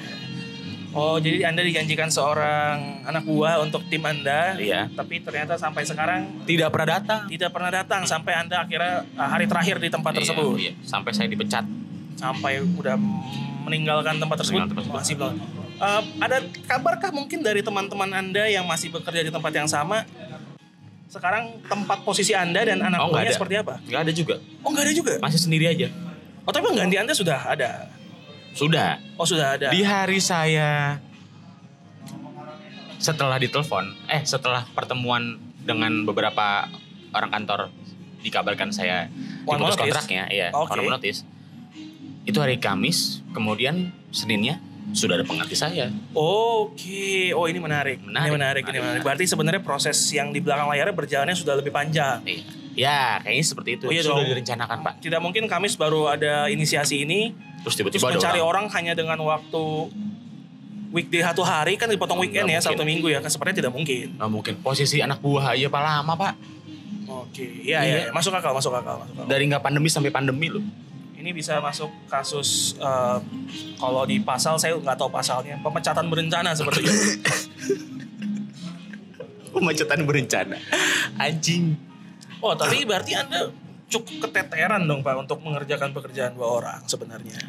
[SPEAKER 1] Oh, jadi Anda dijanjikan seorang anak buah untuk tim Anda,
[SPEAKER 2] Iya.
[SPEAKER 1] tapi ternyata sampai sekarang
[SPEAKER 2] Tidak pernah datang.
[SPEAKER 1] tidak pernah datang sampai Anda akhirnya uh, hari terakhir di tempat
[SPEAKER 2] Iya,
[SPEAKER 1] tersebut.
[SPEAKER 2] iya. Sampai saya dipecat.
[SPEAKER 1] Sampai udah meninggalkan tempat tersebut
[SPEAKER 2] Meninggalkan tempat
[SPEAKER 1] masih belum. Eh, ada kabarkah mungkin dari teman-teman Anda yang masih bekerja di tempat yang sama? Sekarang tempat posisi Anda dan anak
[SPEAKER 2] Oh, nggak
[SPEAKER 1] buahnya
[SPEAKER 2] ada.
[SPEAKER 1] seperti apa?
[SPEAKER 2] Nggak ada juga.
[SPEAKER 1] Oh, nggak ada juga.
[SPEAKER 2] Masih sendiri aja.
[SPEAKER 1] Oh, tapi pengganti Anda sudah ada.
[SPEAKER 2] Sudah.
[SPEAKER 1] Oh, sudah ada.
[SPEAKER 2] Di hari saya setelah ditelepon, eh setelah pertemuan dengan beberapa orang kantor dikabarkan saya
[SPEAKER 1] One
[SPEAKER 2] diputus
[SPEAKER 1] notice.
[SPEAKER 2] kontraknya, ya,
[SPEAKER 1] Oke.
[SPEAKER 2] one notice. Itu hari Kamis, kemudian Seninnya sudah ada pengganti saya.
[SPEAKER 1] Oke, oh ini menarik. Ini
[SPEAKER 2] Menarik,
[SPEAKER 1] menarik, ini
[SPEAKER 2] menarik.
[SPEAKER 1] menarik. Berarti sebenarnya proses yang di belakang layarnya berjalannya sudah lebih panjang.
[SPEAKER 2] Iya. Ya, kayaknya seperti itu.
[SPEAKER 1] Oh, iya
[SPEAKER 2] sudah
[SPEAKER 1] dong.
[SPEAKER 2] direncanakan, Pak.
[SPEAKER 1] Tidak mungkin Kamis baru ada inisiasi ini terus
[SPEAKER 2] Terus tiba-tiba ada
[SPEAKER 1] mencari orang.
[SPEAKER 2] orang.
[SPEAKER 1] hanya dengan waktu weekday satu hari kan dipotong
[SPEAKER 2] Nggak
[SPEAKER 1] weekend ya
[SPEAKER 2] mungkin.
[SPEAKER 1] satu minggu ya kan sepertinya tidak mungkin.
[SPEAKER 2] Nggak "Oh, mungkin. Posisi anak buah aja Pak lama, Pak.
[SPEAKER 1] Oke, iya iya,
[SPEAKER 2] Iya.
[SPEAKER 1] iya. masuk akal, masuk akal, masuk akal.
[SPEAKER 2] Dari nggak pandemi sampai pandemi loh.
[SPEAKER 1] Ini bisa masuk kasus eh, kalau di pasal saya nggak tahu pasalnya pemecatan berencana seperti itu.
[SPEAKER 2] Pemacetan berencana. Anjing.
[SPEAKER 1] Oh, tapi berarti Anda cukup keteteran dong Pak untuk mengerjakan pekerjaan dua orang sebenarnya.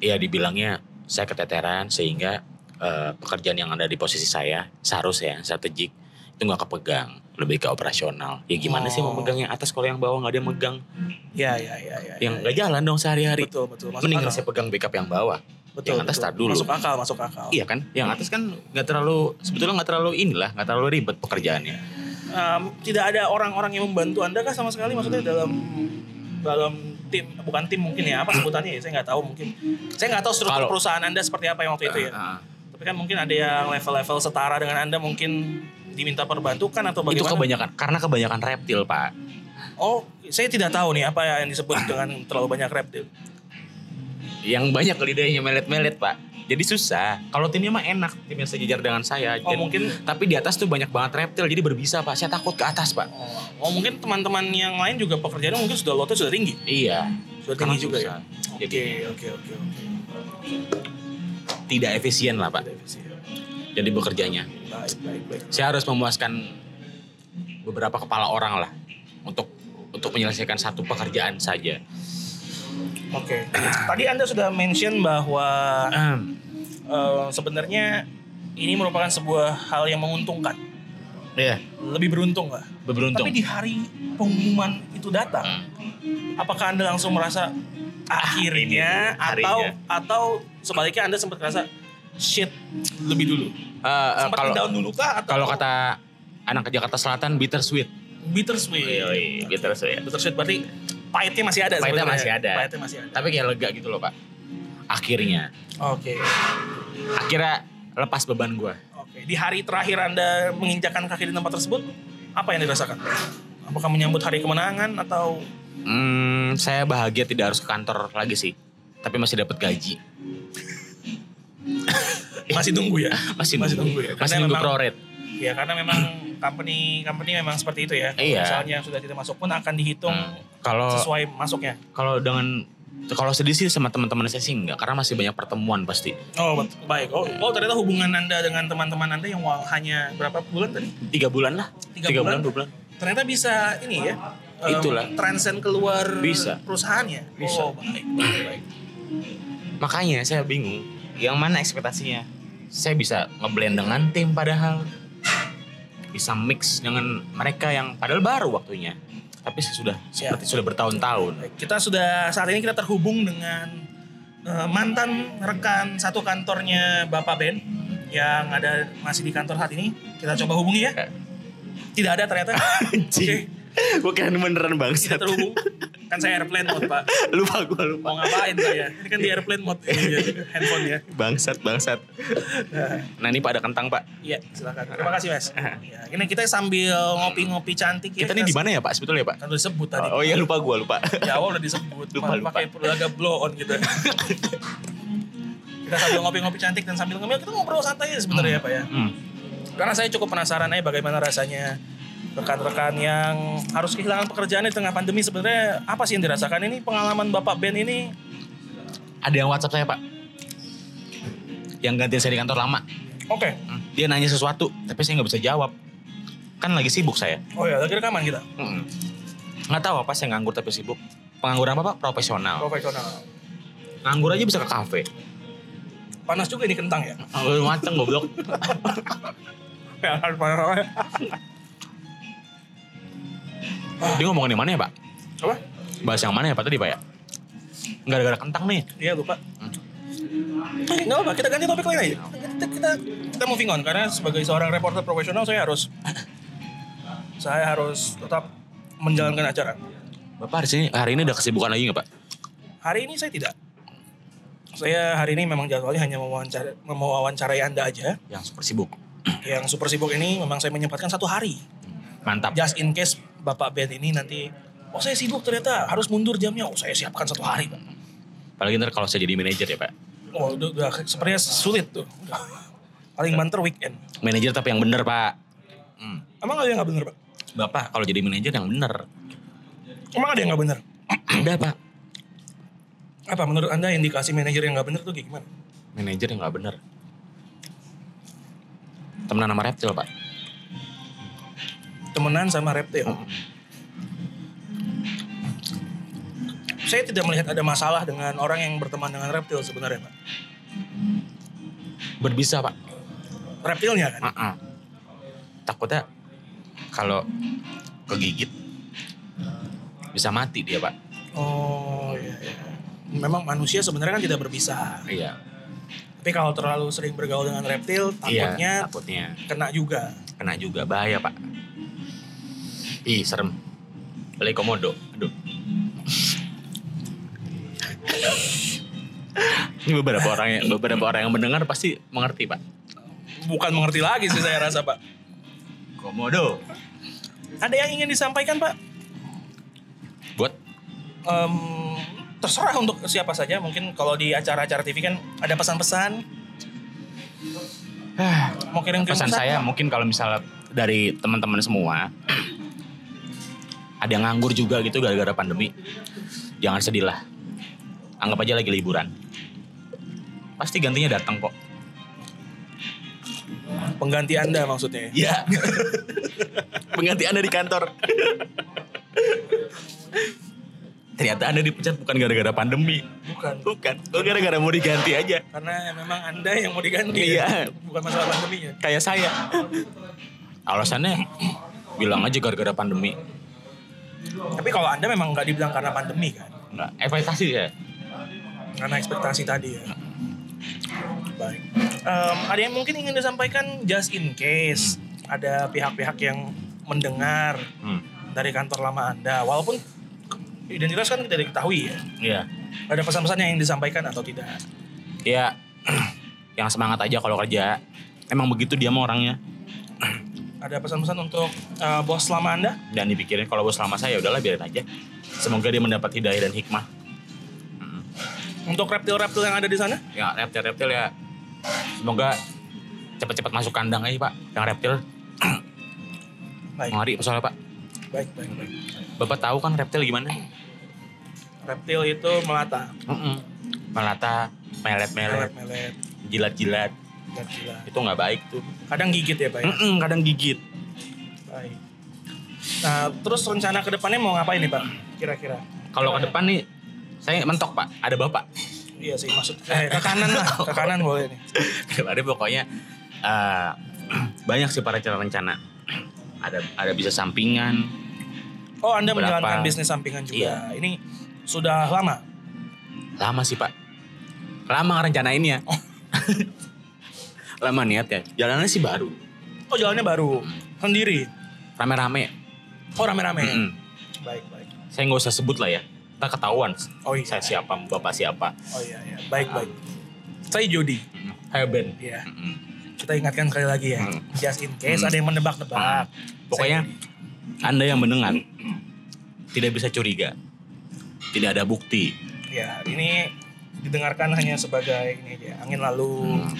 [SPEAKER 2] ya dibilangnya saya keteteran sehingga eh, pekerjaan yang ada di posisi saya seharusnya strategik itu nggak kepegang lebih ke operasional ya gimana sih mau
[SPEAKER 1] Oh.
[SPEAKER 2] megang yang atas kalau yang bawah nggak ada yang megang
[SPEAKER 1] Ya, ya, ya, ya.
[SPEAKER 2] yang
[SPEAKER 1] ya,
[SPEAKER 2] nggak jalan dong sehari-hari
[SPEAKER 1] Betul, betul. Masuk
[SPEAKER 2] mendingan
[SPEAKER 1] akal.
[SPEAKER 2] saya pegang backup yang bawah
[SPEAKER 1] betul,
[SPEAKER 2] yang atas
[SPEAKER 1] betul.
[SPEAKER 2] tar dulu.
[SPEAKER 1] Masuk akal, masuk akal.
[SPEAKER 2] iya kan yang atas kan nggak terlalu sebetulnya nggak terlalu inilah nggak terlalu ribet pekerjaannya
[SPEAKER 1] Em, tidak ada orang-orang yang membantu Anda kah sama sekali maksudnya dalam dalam tim bukan tim mungkin ya apa sebutannya ya saya nggak tahu mungkin saya nggak tahu struktur
[SPEAKER 2] Kalau-
[SPEAKER 1] perusahaan anda seperti apa yang waktu itu ya
[SPEAKER 2] Ah, ah.
[SPEAKER 1] tapi kan mungkin ada yang level-level setara dengan anda mungkin diminta perbantukan atau
[SPEAKER 2] itu
[SPEAKER 1] bagaimana
[SPEAKER 2] kebanyakan karena kebanyakan reptil pak
[SPEAKER 1] oh saya tidak tahu nih apa yang disebut dengan terlalu banyak reptil
[SPEAKER 2] yang banyak lidahnya melet-melet pak jadi susah kalau timnya mah enak tim yang sejajar dengan saya
[SPEAKER 1] oh
[SPEAKER 2] Jadi-
[SPEAKER 1] mungkin
[SPEAKER 2] Tapi di atas tuh banyak banget reptil, jadi berbisa pak. Saya takut ke atas pak.
[SPEAKER 1] oh, oh, mungkin teman-teman yang lain juga pekerjaannya mungkin sudah lotnya sudah tinggi
[SPEAKER 2] Iya.
[SPEAKER 1] sudah tinggi
[SPEAKER 2] Karena
[SPEAKER 1] juga ya
[SPEAKER 2] susah. Jadi
[SPEAKER 1] oke oke oke oke
[SPEAKER 2] tidak efisien lah pak.
[SPEAKER 1] Divisi.
[SPEAKER 2] Jadi bekerjanya.
[SPEAKER 1] Baik, baik, baik.
[SPEAKER 2] Saya harus memuaskan beberapa kepala orang lah untuk untuk menyelesaikan satu pekerjaan saja.
[SPEAKER 1] Oke. Tadi Anda sudah mention bahwa
[SPEAKER 2] Ahem.
[SPEAKER 1] eh, sebenarnya ini merupakan sebuah hal yang menguntungkan,
[SPEAKER 2] Iya.
[SPEAKER 1] lebih beruntung lah.
[SPEAKER 2] Beruntung.
[SPEAKER 1] Tapi di hari pengumuman itu datang, apakah Anda langsung merasa akhirnya,
[SPEAKER 2] Ah, ini harinya.
[SPEAKER 1] atau atau sebaliknya Anda sempat merasa shit lebih dulu?
[SPEAKER 2] Eh, eh,
[SPEAKER 1] sempat
[SPEAKER 2] kalau
[SPEAKER 1] down dulu kah? Atau
[SPEAKER 2] kalau kata anak Jakarta Selatan bittersweet.
[SPEAKER 1] bittersweet?
[SPEAKER 2] bittersweet.
[SPEAKER 1] Bittersweet berarti pahitnya masih ada.
[SPEAKER 2] gitu. Pahitnya
[SPEAKER 1] sebenarnya.
[SPEAKER 2] masih ada.
[SPEAKER 1] Pahitnya masih ada.
[SPEAKER 2] Tapi kayak lega gitu loh pak. Akhirnya,
[SPEAKER 1] Oke.
[SPEAKER 2] akhirnya lepas beban gua
[SPEAKER 1] Oke. Oke, Di hari terakhir Anda menginjakan kaki di tempat tersebut, apa yang dirasakan? Apakah menyambut hari kemenangan atau
[SPEAKER 2] Hmm, saya bahagia tidak harus ke kantor lagi sih. Tapi masih dapat gaji.
[SPEAKER 1] masih tunggu ya?
[SPEAKER 2] Masih
[SPEAKER 1] Masih
[SPEAKER 2] nunggu.
[SPEAKER 1] nunggu ya,
[SPEAKER 2] Masih
[SPEAKER 1] karena
[SPEAKER 2] nunggu
[SPEAKER 1] memang-
[SPEAKER 2] proret.
[SPEAKER 1] Ya karena memang company company memang seperti itu ya. Kalau
[SPEAKER 2] Iya.
[SPEAKER 1] Misalnya sudah tidak masuk pun akan dihitung Oh.
[SPEAKER 2] Hmm, Kalau
[SPEAKER 1] sesuai masuknya.
[SPEAKER 2] kalau dengan kalau sedih sih sama teman-teman saya sih enggak karena masih banyak pertemuan pasti.
[SPEAKER 1] Oh bet- baik. Oh, oh ternyata hubungan Anda dengan teman-teman Anda yang wa- hanya berapa bulan tadi?
[SPEAKER 2] Tiga bulan lah.
[SPEAKER 1] Tiga bulan?
[SPEAKER 2] dua bulan.
[SPEAKER 1] Ternyata bisa ini ya. em,
[SPEAKER 2] Itulah.
[SPEAKER 1] Transcend keluar
[SPEAKER 2] Bisa.
[SPEAKER 1] perusahaan ya.
[SPEAKER 2] Bisa.
[SPEAKER 1] Oh baik baik baik.
[SPEAKER 2] Makanya saya bingung yang mana ekspektasinya. Saya bisa ngeblend dengan tim padahal bisa mix dengan mereka yang padahal baru waktunya. Tapi saya sudah seperti sudah bertahun-tahun.
[SPEAKER 1] Baik, Kita sudah saat ini kita terhubung dengan eh, mantan rekan satu kantornya Bapak Ben yang ada masih di kantor saat ini. Kita coba hubungi ya.
[SPEAKER 2] Eh.
[SPEAKER 1] Tidak ada ternyata. Oke,
[SPEAKER 2] Anjing. Iya, Gue kira beneran
[SPEAKER 1] kita
[SPEAKER 2] bangsat.
[SPEAKER 1] terhubung. Kan saya airplane mode, Pak.
[SPEAKER 2] lupa gue lupa.
[SPEAKER 1] Mau ngapain saya? Ini kan di airplane mode ini ya, handphone ya.
[SPEAKER 2] Bangsat, bangsat. Nah ini pada kentang pak.
[SPEAKER 1] Iya, silakan. Terima kasih, Mas. Ya, ini kita sambil ngopi-ngopi cantik ya.
[SPEAKER 2] Eh. Kita nih di mana ya pak sebetulnya pak?
[SPEAKER 1] Kan udah disebut tadi.
[SPEAKER 2] Oh iya lupa gue lupa.
[SPEAKER 1] Di awal udah disebut.
[SPEAKER 2] Lupa,
[SPEAKER 1] Malah Pakai laga blow on gitu. kita sambil ngopi-ngopi cantik dan sambil ngemil kita ngobrol santai ya sebenarnya ya, Pak ya.
[SPEAKER 2] Hmm.
[SPEAKER 1] Karena saya cukup penasaran aja bagaimana rasanya rekan-rekan yang harus kehilangan pekerjaan di tengah pandemi sebenarnya apa sih yang dirasakan ini pengalaman Bapak Ben ini
[SPEAKER 2] Ada yang WhatsApp saya pak. Yang gantiin saya di kantor lama.
[SPEAKER 1] oke
[SPEAKER 2] Hmm. Dia nanya sesuatu tapi saya nggak bisa jawab. Kan lagi sibuk saya.
[SPEAKER 1] oh ya lagi rekaman kita
[SPEAKER 2] Hmm. Nggak tahu apa saya nganggur tapi sibuk. Pengangguran apa pak? Profesional.
[SPEAKER 1] profesional
[SPEAKER 2] Nganggur aja bisa ke kafe.
[SPEAKER 1] panas juga ini kentang ya
[SPEAKER 2] Nganggur mateng goblok.
[SPEAKER 1] Ya, harus panas.
[SPEAKER 2] Dia ngomongin yang mana ya pak?
[SPEAKER 1] apa
[SPEAKER 2] Bahas yang mana ya pak tadi pak ya? Gara-gara kentang nih.
[SPEAKER 1] Iya lupa. Eh, Nggak apa-apa, kita ganti topik lain aja. Kita, kita, kita moving on, karena sebagai seorang reporter profesional saya harus saya harus tetap menjalankan acara.
[SPEAKER 2] Bapak hari sini hari ini ada kesibukan lagi nggak pak?
[SPEAKER 1] Hari ini saya tidak. Saya hari ini memang jadwalnya hanya mewawancara, mewawancarai Anda aja.
[SPEAKER 2] Yang super sibuk.
[SPEAKER 1] Yang super sibuk ini memang saya menyempatkan satu hari.
[SPEAKER 2] Mantap.
[SPEAKER 1] Just in case Bapak Ben ini nanti, oh saya sibuk ternyata harus mundur jamnya. Oh saya siapkan satu hari Pak.
[SPEAKER 2] Apalagi ntar kalau saya jadi manajer ya pak.
[SPEAKER 1] Oh udah, udah sepertinya sulit tuh. Udah. Paling banter weekend.
[SPEAKER 2] Manajer tapi yang bener pak. Hmm.
[SPEAKER 1] Emang ada yang nggak bener Pak?
[SPEAKER 2] Bapak kalau jadi manajer yang bener.
[SPEAKER 1] Emang ada yang nggak bener?
[SPEAKER 2] Ada pak.
[SPEAKER 1] Apa menurut Anda indikasi manajer yang nggak bener tuh kayak gimana?
[SPEAKER 2] Manajer yang nggak bener. Temenan sama reptil pak.
[SPEAKER 1] Temenan sama reptil. Saya tidak melihat ada masalah dengan orang yang berteman dengan reptil sebenarnya, Pak.
[SPEAKER 2] Berbisa pak.
[SPEAKER 1] Reptilnya kan?
[SPEAKER 2] Heeh. Takutnya kalau kegigit bisa mati dia pak.
[SPEAKER 1] Oh, iya, iya. Memang manusia sebenarnya kan tidak berbisa.
[SPEAKER 2] Iya.
[SPEAKER 1] Tapi kalau terlalu sering bergaul dengan reptil,
[SPEAKER 2] Iya.
[SPEAKER 1] takutnya
[SPEAKER 2] Takutnya
[SPEAKER 1] kena juga.
[SPEAKER 2] kena juga bahaya pak. Ih serem. Balik komodo. Aduh. Ini beberapa orang yang beberapa orang yang mendengar pasti mengerti pak.
[SPEAKER 1] Bukan mengerti lagi sih saya rasa, Pak.
[SPEAKER 2] Komodo.
[SPEAKER 1] Ada yang ingin disampaikan, Pak?
[SPEAKER 2] Buat
[SPEAKER 1] Em, terserah untuk siapa saja. Mungkin kalau di acara-acara TV kan ada pesan-pesan.
[SPEAKER 2] Ah.
[SPEAKER 1] Mau kirim-kirim
[SPEAKER 2] pesan saya mungkin kalau misalnya dari teman-teman semua ada yang nganggur juga gitu gara-gara pandemi jangan sedih lah anggap aja lagi liburan pasti gantinya datang kok
[SPEAKER 1] Pengganti Anda maksudnya.
[SPEAKER 2] Iya. Pengganti Anda di kantor. Ternyata Anda dipecat bukan gara-gara pandemi.
[SPEAKER 1] Bukan.
[SPEAKER 2] Bukan. Oh, gara-gara mau diganti aja.
[SPEAKER 1] Karena memang Anda yang mau diganti.
[SPEAKER 2] Iya.
[SPEAKER 1] Bukan masalah ya. pandeminya.
[SPEAKER 2] Kayak saya. Alasannya bilang aja gara-gara pandemi.
[SPEAKER 1] Tapi kalau Anda memang nggak dibilang karena pandemi kan.
[SPEAKER 2] Enggak, ekspektasi ya.
[SPEAKER 1] Karena ekspektasi tadi ya. Baik. Em, ada yang mungkin ingin disampaikan just in case. Ada pihak-pihak yang mendengar
[SPEAKER 2] Hmm.
[SPEAKER 1] dari kantor lama Anda. Walaupun identitas kan tidak diketahui ya.
[SPEAKER 2] Iya.
[SPEAKER 1] Ada pesan-pesan yang ingin disampaikan atau tidak?
[SPEAKER 2] Ya yang semangat aja kalau kerja. Emang begitu dia mau orangnya.
[SPEAKER 1] Ada pesan-pesan untuk eh, bos lama Anda?
[SPEAKER 2] Dan dipikirin kalau bos lama saya ya udahlah biarin aja. Semoga dia mendapat hidayah dan hikmah. Mm.
[SPEAKER 1] Untuk reptil-reptil yang ada di sana?
[SPEAKER 2] Ya reptil-reptil ya. Semoga cepat-cepat masuk kandang aja pak. Yang reptil
[SPEAKER 1] Baik,
[SPEAKER 2] mengari soalnya pak.
[SPEAKER 1] baik, baik, baik.
[SPEAKER 2] Bapak tahu kan reptil gimana?
[SPEAKER 1] Reptil itu melata,
[SPEAKER 2] Mm-mm. Melata, melet-melet,
[SPEAKER 1] melet-melet,
[SPEAKER 2] jilat-jilat.
[SPEAKER 1] gila.
[SPEAKER 2] Itu nggak baik tuh.
[SPEAKER 1] Kadang gigit ya, Pak ya?
[SPEAKER 2] Mm-mm, kadang gigit.
[SPEAKER 1] Baik. Nah, terus rencana kedepannya mau ngapain nih, Pak? Kira-kira?
[SPEAKER 2] Kalau ke depan nih, saya mentok pak. Ada bapak.
[SPEAKER 1] Iya sih, maksud eh, ke kanan lah, ke kanan
[SPEAKER 2] Oh.
[SPEAKER 1] boleh nih.
[SPEAKER 2] Kemarin Gitu. pokoknya eh, banyak sih para cara rencana. Ada ada bisa sampingan.
[SPEAKER 1] Oh, Anda
[SPEAKER 2] Berapa? Iya.
[SPEAKER 1] menjalankan bisnis sampingan juga. Ini sudah lama.
[SPEAKER 2] Lama sih pak. Lama rencanainnya. Lama niatnya. Jalanannya sih baru.
[SPEAKER 1] Oh, jalannya baru sendiri.
[SPEAKER 2] Rame-rame. ya?
[SPEAKER 1] Oh, rame-rame.
[SPEAKER 2] Mm-mm.
[SPEAKER 1] Baik, baik.
[SPEAKER 2] Saya nggak usah sebut lah ya. Kita ketahuan.
[SPEAKER 1] Oh iya.
[SPEAKER 2] Saya siapa, bapak siapa.
[SPEAKER 1] Oh iya, iya. Baik, baik. Saya Jody.
[SPEAKER 2] Mm. Hai Ben.
[SPEAKER 1] Iya.
[SPEAKER 2] Mm-mm.
[SPEAKER 1] Kita ingatkan sekali lagi ya.
[SPEAKER 2] Hmm.
[SPEAKER 1] Just in case
[SPEAKER 2] Hmm.
[SPEAKER 1] ada yang menebak-nebak.
[SPEAKER 2] Ah, Pokoknya Anda yang mendengar tidak bisa curiga. Tidak ada bukti.
[SPEAKER 1] Ya, ini didengarkan hanya sebagai ini aja, angin lalu
[SPEAKER 2] Hmm.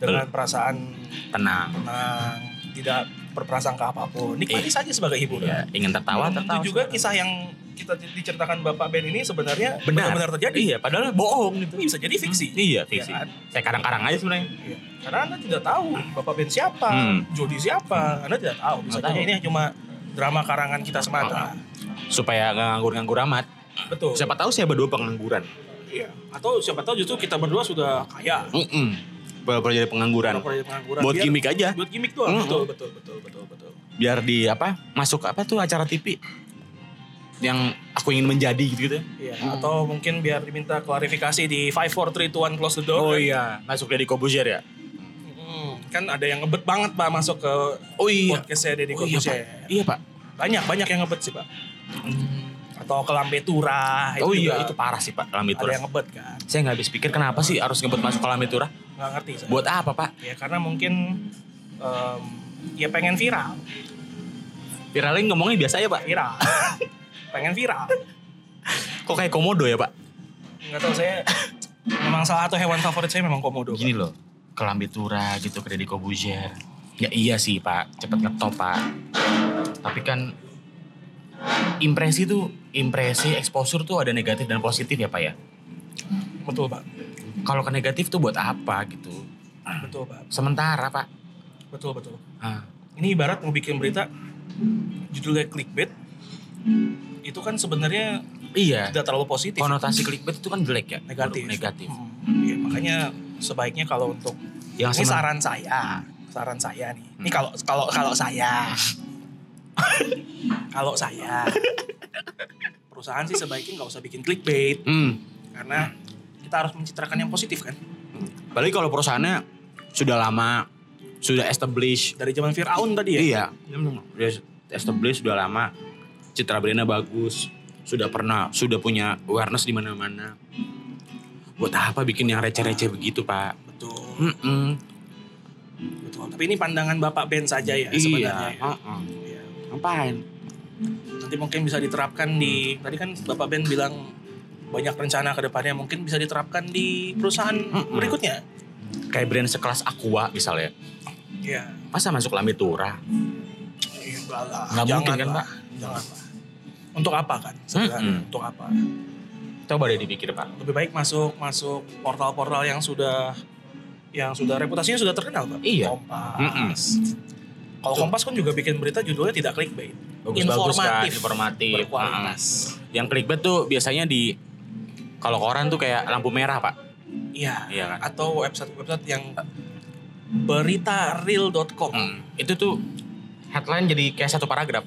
[SPEAKER 1] dengan perasaan
[SPEAKER 2] Tenang.
[SPEAKER 1] tenang, tidak berprasangka apapun. Nikmati saja sebagai hiburan.
[SPEAKER 2] Ya, ingin tertawa, tertawa.
[SPEAKER 1] Itu juga kisah yang kita diceritakan Bapak Ben ini sebenarnya
[SPEAKER 2] Benar.
[SPEAKER 1] benar-benar terjadi.
[SPEAKER 2] Iya, padahal bohong gitu.
[SPEAKER 1] Ini bisa jadi fiksi.
[SPEAKER 2] Iya, fiksi.
[SPEAKER 1] Ya kan?
[SPEAKER 2] Saya kadang-kadang aja sebenarnya.
[SPEAKER 1] Iya. Karena Anda tidak tahu Bapak Ben siapa,
[SPEAKER 2] Hmm.
[SPEAKER 1] Jody siapa, Anda tidak tahu. Bisa
[SPEAKER 2] Nggak
[SPEAKER 1] jadi
[SPEAKER 2] tahu. Ah,
[SPEAKER 1] ini cuma drama karangan kita semata.
[SPEAKER 2] Supaya nggak nganggur-nganggur amat.
[SPEAKER 1] Betul.
[SPEAKER 2] Siapa tahu saya berdua pengangguran.
[SPEAKER 1] Iya. Atau siapa tahu justru kita berdua sudah kaya.
[SPEAKER 2] Heeh. Pura-pura jadi pengangguran.
[SPEAKER 1] Pura-pura jadi pengangguran.
[SPEAKER 2] Buat
[SPEAKER 1] Biar-
[SPEAKER 2] gimmick aja.
[SPEAKER 1] Buat gimmick doang.
[SPEAKER 2] Hmm.
[SPEAKER 1] Betul, betul, betul, betul, betul.
[SPEAKER 2] Biar di apa? Masuk apa tuh acara TV yang aku ingin menjadi gitu-gitu.
[SPEAKER 1] Iya, atau mungkin biar diminta klarifikasi di 5 4 3 2 1 close the door. kan?
[SPEAKER 2] Oh iya, masuk dari Kobuzier ya.
[SPEAKER 1] Hmm, kan ada yang ngebet banget Pak masuk ke
[SPEAKER 2] Oh iya.
[SPEAKER 1] podcast saya Deddy
[SPEAKER 2] Oh iya, Pak.
[SPEAKER 1] Corbuzier.
[SPEAKER 2] Iya, Pak.
[SPEAKER 1] Banyak banyak yang ngebet sih Pak. Atau ke Lambe Tura.
[SPEAKER 2] oh
[SPEAKER 1] itu
[SPEAKER 2] iya,
[SPEAKER 1] juga
[SPEAKER 2] itu parah sih, Pak, kolam
[SPEAKER 1] Ada
[SPEAKER 2] Itura.
[SPEAKER 1] yang ngebet kan.
[SPEAKER 2] Saya nggak habis pikir kenapa sih harus ngebut masuk kolam Itura.
[SPEAKER 1] Nggak ngerti saya.
[SPEAKER 2] Buat apa, Pak?
[SPEAKER 1] Ya karena mungkin em, ya pengen viral.
[SPEAKER 2] Viralnya ngomongnya biasa ya, Pak.
[SPEAKER 1] Viral. pengen viral.
[SPEAKER 2] Kok kayak komodo ya, Pak?
[SPEAKER 1] Nggak tahu saya memang salah satu hewan favorit saya memang komodo. Pak.
[SPEAKER 2] Gini loh, kelambi tura gitu ke Deddy Corbuzier. Ya iya sih pak, cepet ngetop pak. Tapi kan impresi tuh, impresi exposure tuh ada negatif dan positif ya pak ya.
[SPEAKER 1] Betul Pak.
[SPEAKER 2] Kalau ke negatif tuh buat apa gitu.
[SPEAKER 1] Betul Pak.
[SPEAKER 2] Sementara pak.
[SPEAKER 1] Betul betul.
[SPEAKER 2] Ah,
[SPEAKER 1] ini ibarat mau bikin berita judulnya clickbait itu kan sebenarnya
[SPEAKER 2] iya,
[SPEAKER 1] tidak terlalu positif
[SPEAKER 2] konotasi clickbait itu kan jelek ya.
[SPEAKER 1] negatif
[SPEAKER 2] Negatif.
[SPEAKER 1] Hmm, iya, makanya sebaiknya kalau untuk ini
[SPEAKER 2] Yang Hmm. semen-
[SPEAKER 1] saran saya saran saya nih ini kalau kalau kalau saya kalau saya perusahaan sih sebaiknya nggak usah bikin clickbait
[SPEAKER 2] Hmm.
[SPEAKER 1] karena kita harus mencitrakan yang positif kan
[SPEAKER 2] Balik kalau perusahaannya sudah lama, sudah established,
[SPEAKER 1] dari zaman Firaun tadi ya
[SPEAKER 2] Iya. Dia established sudah lama. Citra brandnya bagus. Sudah pernah, sudah punya awareness di mana-mana. Buat apa bikin yang receh-receh begitu, Pak?
[SPEAKER 1] betul
[SPEAKER 2] Mm-mm.
[SPEAKER 1] betul tapi ini pandangan bapak Ben saja ya
[SPEAKER 2] iya.
[SPEAKER 1] sebenarnya ya.
[SPEAKER 2] mm-mm.
[SPEAKER 1] Iya.
[SPEAKER 2] Ngapain?
[SPEAKER 1] nanti mungkin bisa diterapkan
[SPEAKER 2] Hmm.
[SPEAKER 1] di tadi kan Bapak Ben bilang banyak rencana ke depannya mungkin bisa diterapkan di perusahaan
[SPEAKER 2] Mm-mm.
[SPEAKER 1] berikutnya.
[SPEAKER 2] Kayak brand sekelas Aqua misalnya.
[SPEAKER 1] Iya.
[SPEAKER 2] Masa masuk Lambe Tura?
[SPEAKER 1] Iyalah.
[SPEAKER 2] Nggak mungkin kan, Pak? Hmm,
[SPEAKER 1] Jangan, Pak. Untuk apa kan? Sebenarnya
[SPEAKER 2] Mm-mm.
[SPEAKER 1] untuk apa?
[SPEAKER 2] Coba deh dipikir, Pak.
[SPEAKER 1] Lebih baik masuk masuk portal-portal yang sudah yang sudah reputasinya sudah terkenal, Pak.
[SPEAKER 2] Iya.
[SPEAKER 1] Kompas.
[SPEAKER 2] Mm-mm.
[SPEAKER 1] Kalau
[SPEAKER 2] Betul.
[SPEAKER 1] Kompas kan juga bikin berita judulnya tidak clickbait,
[SPEAKER 2] Bagus-bagus kan,
[SPEAKER 1] Informatif.
[SPEAKER 2] informatif. Mm-mm.
[SPEAKER 1] berkualitas.
[SPEAKER 2] Yang clickbait tuh biasanya di kalau koran tuh kayak lampu merah, Pak.
[SPEAKER 1] Iya.
[SPEAKER 2] Iya kan?
[SPEAKER 1] Atau website-website yang beritareal.com.
[SPEAKER 2] Mm. Itu tuh headline jadi kayak satu paragraf.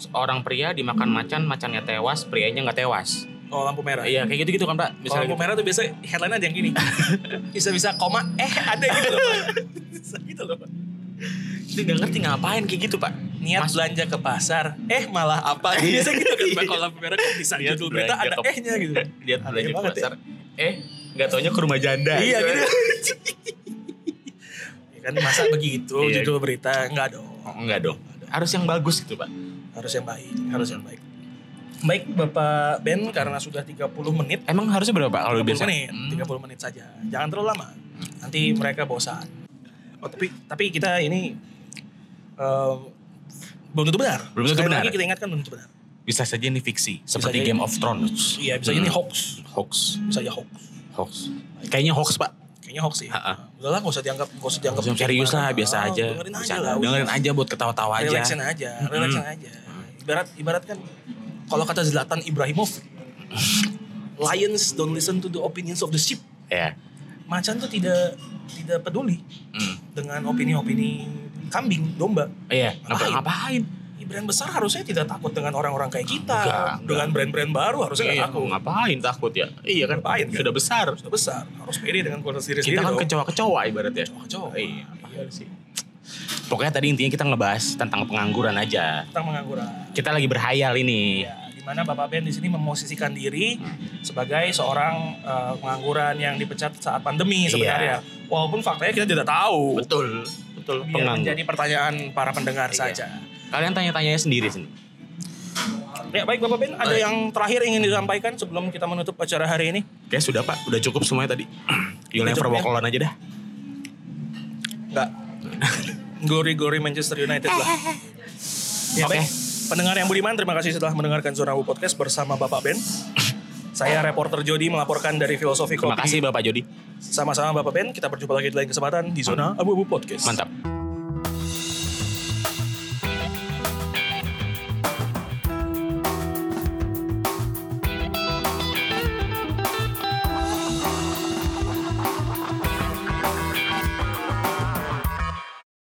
[SPEAKER 2] Seorang pria dimakan macan, macannya tewas, prianya nggak tewas.
[SPEAKER 1] Oh lampu merah.
[SPEAKER 2] Iya kayak gitu gitu kan pak.
[SPEAKER 1] Kalau
[SPEAKER 2] Misalnya
[SPEAKER 1] lampu
[SPEAKER 2] gitu.
[SPEAKER 1] merah tuh biasa headline ada yang gini. Bisa-bisa koma eh ada gitu loh. Bisa gitu loh.
[SPEAKER 2] Itu nggak ngerti ngapain kayak gitu pak.
[SPEAKER 1] Niat
[SPEAKER 2] Mas- Iya.
[SPEAKER 1] belanja ke pasar, eh malah apa? Biasa gitu kan Pak. kalau lampu merah kok bisa
[SPEAKER 2] Niat
[SPEAKER 1] judul berita
[SPEAKER 2] belanja
[SPEAKER 1] ada
[SPEAKER 2] ke-
[SPEAKER 1] ehnya gitu.
[SPEAKER 2] Lihat
[SPEAKER 1] Aneh
[SPEAKER 2] belanja ke
[SPEAKER 1] banget ya.
[SPEAKER 2] Iya, Gitu. pasar. Eh nggak taunya ke rumah janda.
[SPEAKER 1] Iya gitu.
[SPEAKER 2] kan.
[SPEAKER 1] Ya, kan masa begitu
[SPEAKER 2] Iya.
[SPEAKER 1] judul berita enggak dong
[SPEAKER 2] Oh, enggak dong. Harus yang bagus gitu, Pak.
[SPEAKER 1] harus yang baik harus yang baik baik bapak Ben karena sudah 30 menit
[SPEAKER 2] Emang harusnya berapa, Pak? Kalau Hmm.
[SPEAKER 1] 30
[SPEAKER 2] biasa.
[SPEAKER 1] menit, 30 menit saja. Jangan terlalu lama. Nanti mereka bosan. Oh, tapi tapi kita ini eh, belum tentu benar.
[SPEAKER 2] Belum tentu
[SPEAKER 1] Sekali
[SPEAKER 2] benar.
[SPEAKER 1] Lagi kita ingatkan belum tentu benar.
[SPEAKER 2] Bisa saja ini fiksi, seperti
[SPEAKER 1] saja
[SPEAKER 2] Game of Thrones.
[SPEAKER 1] Iya, bisa jadi ini
[SPEAKER 2] Hmm.
[SPEAKER 1] hoax.
[SPEAKER 2] hoax.
[SPEAKER 1] Bisa aja hoax.
[SPEAKER 2] Hoax. Kayaknya hoax, Pak.
[SPEAKER 1] Kayaknya hoax sih.
[SPEAKER 2] Ha-ha.
[SPEAKER 1] Udah lah, gak usah dianggap, gak usah dianggap.
[SPEAKER 2] Jangan serius lah, biasa
[SPEAKER 1] Ah,
[SPEAKER 2] aja.
[SPEAKER 1] Dengerin aja
[SPEAKER 2] Bercanda.
[SPEAKER 1] lah.
[SPEAKER 2] Dengerin aja buat ketawa-tawa
[SPEAKER 1] aja.
[SPEAKER 2] aja. Hmm.
[SPEAKER 1] Relaxin aja, relaxin aja. Ibarat ibarat kan kalau kata Zlatan Ibrahimovic, lions don't listen to the opinions of the sheep.
[SPEAKER 2] Ya.
[SPEAKER 1] Macan tuh tidak tidak peduli
[SPEAKER 2] Hmm.
[SPEAKER 1] dengan opini-opini kambing, domba.
[SPEAKER 2] Iya,
[SPEAKER 1] Ngapain?
[SPEAKER 2] ngapain? ngapain?
[SPEAKER 1] Brand besar harusnya tidak takut dengan orang-orang kayak kita.
[SPEAKER 2] Enggak, enggak.
[SPEAKER 1] Dengan brand-brand baru harusnya
[SPEAKER 2] Iya,
[SPEAKER 1] nggak takut.
[SPEAKER 2] ngapain takut ya? Iya kan,
[SPEAKER 1] Ngapain, kan?
[SPEAKER 2] sudah besar.
[SPEAKER 1] Sudah besar, harus pede dengan kualitas diri sendiri.
[SPEAKER 2] Kita kan
[SPEAKER 1] dong.
[SPEAKER 2] kecoa-kecoa ibaratnya.
[SPEAKER 1] Kecoa-kecoa.
[SPEAKER 2] Iya, apaan sih? Pokoknya tadi intinya kita ngebahas tentang pengangguran aja.
[SPEAKER 1] Tentang pengangguran.
[SPEAKER 2] Kita lagi berhayal ini.
[SPEAKER 1] Ya, di mana Bapak Ben di sini memosisikan diri
[SPEAKER 2] Hmm.
[SPEAKER 1] sebagai seorang eh, pengangguran yang dipecat saat pandemi
[SPEAKER 2] Iya.
[SPEAKER 1] sebenarnya. Walaupun faktanya kita tidak tahu.
[SPEAKER 2] Betul, betul.
[SPEAKER 1] Biar
[SPEAKER 2] Penganggur.
[SPEAKER 1] menjadi pertanyaan para pendengar
[SPEAKER 2] Iya.
[SPEAKER 1] saja.
[SPEAKER 2] Kalian tanya-tanya sendiri sendiri.
[SPEAKER 1] Ya baik Bapak Ben, ada yang terakhir ingin disampaikan sebelum kita menutup acara hari ini?
[SPEAKER 2] Oke, sudah Pak, udah cukup semuanya tadi. ya? You'll never
[SPEAKER 1] cukup,
[SPEAKER 2] walk alone aja dah.
[SPEAKER 1] Enggak. Gori-gori Manchester United lah. Ya,
[SPEAKER 2] Oke.
[SPEAKER 1] baik. Pendengar yang budiman, terima kasih setelah mendengarkan Zona U Podcast bersama Bapak Ben. Saya reporter Jody melaporkan dari Filosofi
[SPEAKER 2] Terima
[SPEAKER 1] Kopi.
[SPEAKER 2] kasih Bapak Jody.
[SPEAKER 1] Sama-sama Bapak Ben, kita berjumpa lagi di lain kesempatan di Zona Abu-Abu Podcast.
[SPEAKER 2] Mantap.